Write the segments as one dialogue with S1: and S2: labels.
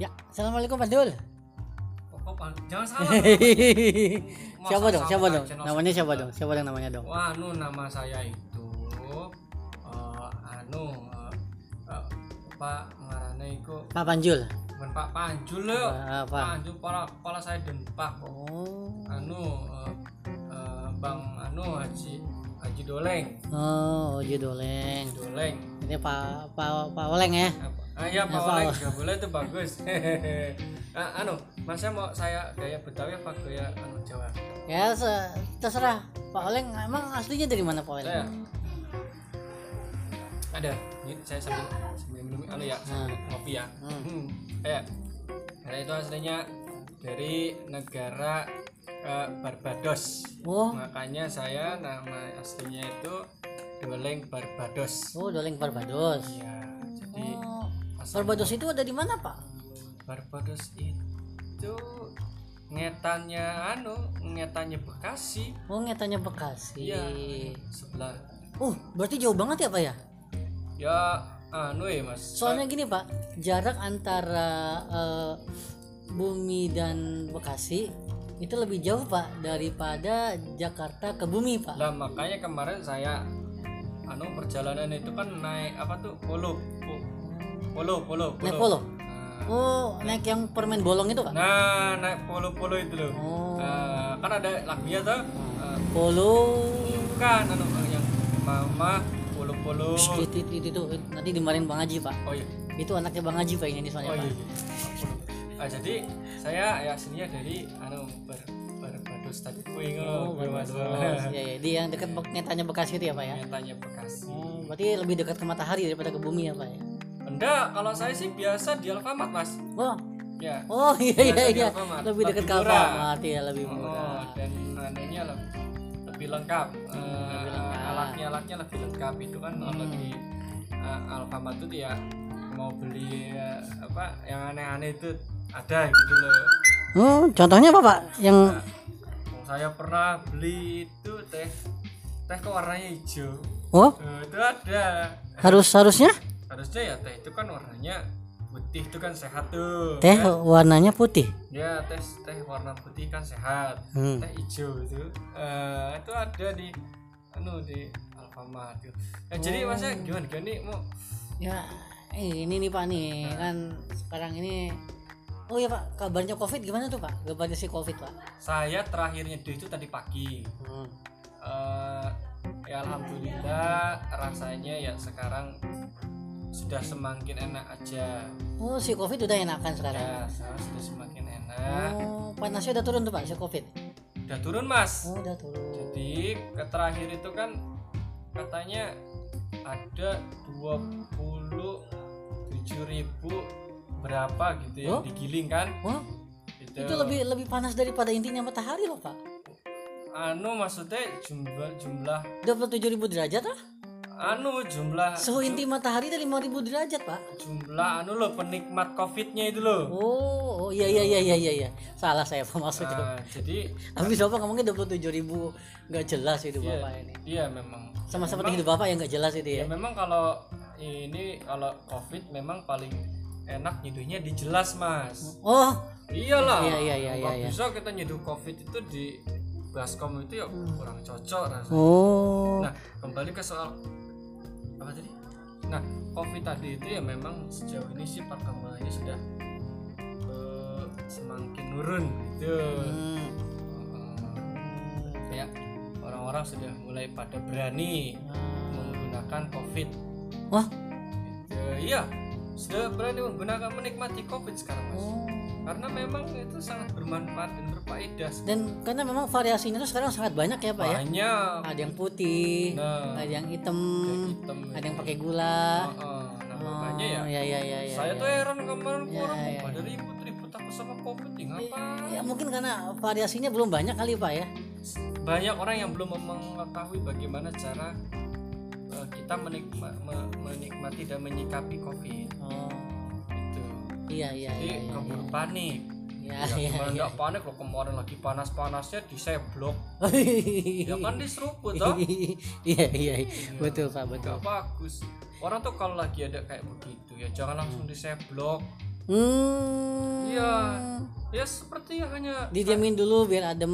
S1: Ya, assalamualaikum Pak Dul.
S2: Kok- kok pang- jangan salah Masa
S1: siapa dong?
S2: sama
S1: Siapa
S2: kan
S1: dong?
S2: channel
S1: Namanya
S2: saya
S1: siapa
S2: juga?
S1: dong? Siapa dong namanya dong?
S2: wah anu nama saya itu eh, anu eh, eh, pak ngarane iku
S1: Pak Panjul.
S2: men pak panjul lho
S1: Ah,
S2: pak
S1: Pak.
S2: panjul kepala kepala saya dempak kok
S1: Oh.
S2: anu eh, eh, bang anu haji haji doleng
S1: Oh, Oji Doleng.
S2: doleng
S1: Ini Pak Pak Pak Oleng ya.
S2: apa ah, ya pak
S1: Apa?
S2: doleng juga boleh itu bagus Ah, anu masnya mau saya gaya betawi apa gaya anu jawa
S1: Ya se- terserah. Pak Oleng emang aslinya dari mana Pak Oleng?
S2: Saya Nah. ada. Ini saya sambil sambil minum anu ya, sambil ngopi ya.
S1: Hmm.
S2: Hmm. Ya. Karena itu aslinya dari negara eh, Barbados.
S1: Oh,
S2: Makanya saya nama aslinya itu Doleng Barbados.
S1: oh Doleng Barbados.
S2: Ya, jadi
S1: Oh,
S2: asal-
S1: Barbados itu ada di mana Pak?
S2: Barbados itu ngetannya anu, ngetannya Bekasi.
S1: Oh, nyatanya Bekasi.
S2: Iya, sebelah.
S1: Uh, berarti jauh banget ya Pak ya?
S2: Ya, anu ya, Mas.
S1: Soalnya gini Pak, jarak antara eh, Bumi dan Bekasi itu lebih jauh Pak daripada Jakarta ke Bumi Pak.
S2: lah makanya kemarin saya anu perjalanan itu kan naik apa tuh polo Po- polo polo
S1: Naik
S2: polo
S1: polo. Oh, naik yang permen bolong itu Pak.
S2: nah naik polo polo itu loh
S1: Oh,
S2: Nah, kan ada lagunya tuh Eh,
S1: polo.
S2: bukan anu yang mama polo polo
S1: Shh, Itu, itu, itu, itu. nanti dimarahin Bang Haji Pak.
S2: oh iya
S1: Itu anaknya Bang Haji Pak ini
S2: oh
S1: soalnya
S2: iya,
S1: Pak.
S2: iya. Ah, jadi saya ya aslinya dari anu ber berbados tadi kuing
S1: Oh,
S2: mas
S1: Barbados. Iya, iya. Di yang dekat Bek- nyatanya Bekasi itu ya Pak ya.
S2: tanya Bekasi
S1: Oh, berarti lebih dekat ke matahari daripada ke bumi ya Pak ya.
S2: enggak kalau saya sih biasa di Alfamart mas
S1: Oh,
S2: ya
S1: oh iya iya
S2: Biasa di
S1: iya.
S2: Alfamart.
S1: Lebih dekat ke
S2: Lebih murah.
S1: Alfamart ya lebih
S2: Oh,
S1: murah.
S2: dan anunya lebih, lebih lengkap. Eh,
S1: lengkap.
S2: Alatnya-alatnya lebih lengkap itu kan kalau di eh, Alfamart itu ya mau beli eh, apa yang aneh-aneh itu ada gitu loh.
S1: Hmm, contohnya apa pak? Yang
S2: Saya pernah beli itu teh teh kok warnanya hijau.
S1: oh
S2: Eh, itu ada.
S1: harus harusnya
S2: Harusnya ya teh itu kan warnanya putih itu kan sehat tuh. Kan?
S1: teh warnanya putih.
S2: Ya teh teh warna putih kan sehat.
S1: Hmm.
S2: teh hijau itu eh, itu ada di anu di Alfamart gitu. Nah, jadi masa gimana gimana nih mau
S1: Ya ini nih pak nih kan sekarang ini. Oh ya pak kabarnya covid gimana tuh pak? Kabarnya si covid pak.
S2: saya terakhir nyeduh itu tadi pagi
S1: Hmm.
S2: Eh, ya alhamdulillah rasanya ya sekarang sudah semakin enak aja
S1: Oh si covid udah enakan sekarang.
S2: ya sekarang sudah semakin enak
S1: Oh panasnya udah turun tuh pak si covid.
S2: udah turun mas
S1: Oh udah turun.
S2: jadi ke terakhir itu kan katanya ada 27.000 berapa gitu ya
S1: Oh?
S2: digiling kan
S1: Wah
S2: gitu.
S1: itu lebih lebih panas daripada intinya matahari loh pak.
S2: anu maksudnya jumlah jumlah
S1: 27.000 derajat lah.
S2: anu jumlah
S1: Suhu inti matahari itu 5.000 derajat pak.
S2: jumlah anu lo penikmat covidnya itu
S1: Oh,
S2: loh
S1: gitu. oh iya iya iya iya iya, iya. Salah saya Pak maksudnya.
S2: Nah, jadi
S1: Habis Bapak ngomongnya 27 ribu nggak jelas itu
S2: Iya.
S1: Bapak ini.
S2: iya memang
S1: Sama seperti hidup Bapak yang nggak jelas itu ya.
S2: ya memang kalau ini kalau covid memang paling enak nyeduhnya di jelas mas
S1: Oh,
S2: iyalah
S1: Iya, iya, iya,
S2: Nggak
S1: iya, iya.
S2: bisa kita nyeduh covid itu di baskom itu ya
S1: Hmm.
S2: kurang cocok rasanya
S1: oh.
S2: nah kembali ke soal apa tadi nah covid tadi itu ya memang sejauh ini sih perkembangannya sudah eh, semakin nurun gitu
S1: Hmm.
S2: Eh, ya orang-orang sudah mulai pada berani menggunakan covid
S1: Wah.
S2: Eh, iya sudah berani menggunakan menikmati covid sekarang mas
S1: Oh.
S2: karena memang itu sangat bermanfaat dan berfaedah
S1: Dan karena memang variasinya itu sekarang sangat banyak ya Pak ya.
S2: banyak
S1: Ada yang putih,
S2: nah
S1: ada yang hitam,
S2: hitam ya.
S1: ada yang pakai gula.
S2: Heeh, nah
S1: Oh,
S2: makanya ya
S1: ya ya ya ya.
S2: saya
S1: ya.
S2: tuh heran kemarin
S1: Ya,
S2: orang
S1: ya,
S2: pada ribut ribut aku sama covid nih
S1: Ya,
S2: ngapain
S1: mungkin karena variasinya belum banyak kali Pak ya.
S2: banyak orang yang belum mengetahui bagaimana cara eh, kita menikma- me- menikmati dan menyikapi covid
S1: Oh.
S2: itu
S1: Iya iya iya.
S2: jadi keburu panik
S1: Iya
S2: ya,
S1: iya.
S2: gimana nggak panik loh kemarin lagi panas panasnya di seblok ya kan diseruput toh Hmm.
S1: iya iya iya. betul pak betul
S2: nggak bagus orang tuh kalau lagi ada kayak begitu ya jangan langsung di seblok
S1: Hmm.
S2: Iya. ya seperti hanya
S1: Didiamin dulu biar adem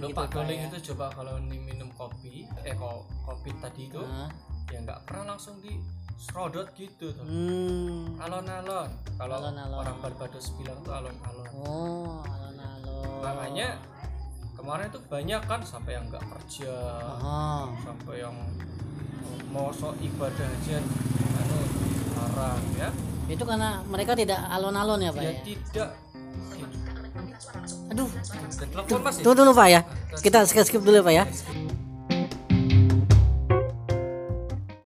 S1: gitu
S2: lupa
S1: Pak,
S2: guling
S1: ya.
S2: itu coba kalau minum kopi eh kok kopi tadi itu
S1: Hah?
S2: ya nggak pernah langsung di serodot gitu tuh
S1: Hmm.
S2: alon-alon kalau
S1: Alon-alon.
S2: orang Barbados bilang tuh alon-alon
S1: Oh, alon-alon.
S2: makanya kemarin tuh banyak kan sampai yang nggak kerja
S1: Aha.
S2: sampai yang mau sok ibadah aja anu larang ya
S1: Itu karena mereka tidak alon-alon ya, Pak
S2: ya
S1: ya.
S2: tidak
S1: Aduh.
S2: telepon mas ya kan
S1: Tunggu dulu Pak ya. Kita skip skip dulu ya, Pak ya.
S2: Skip.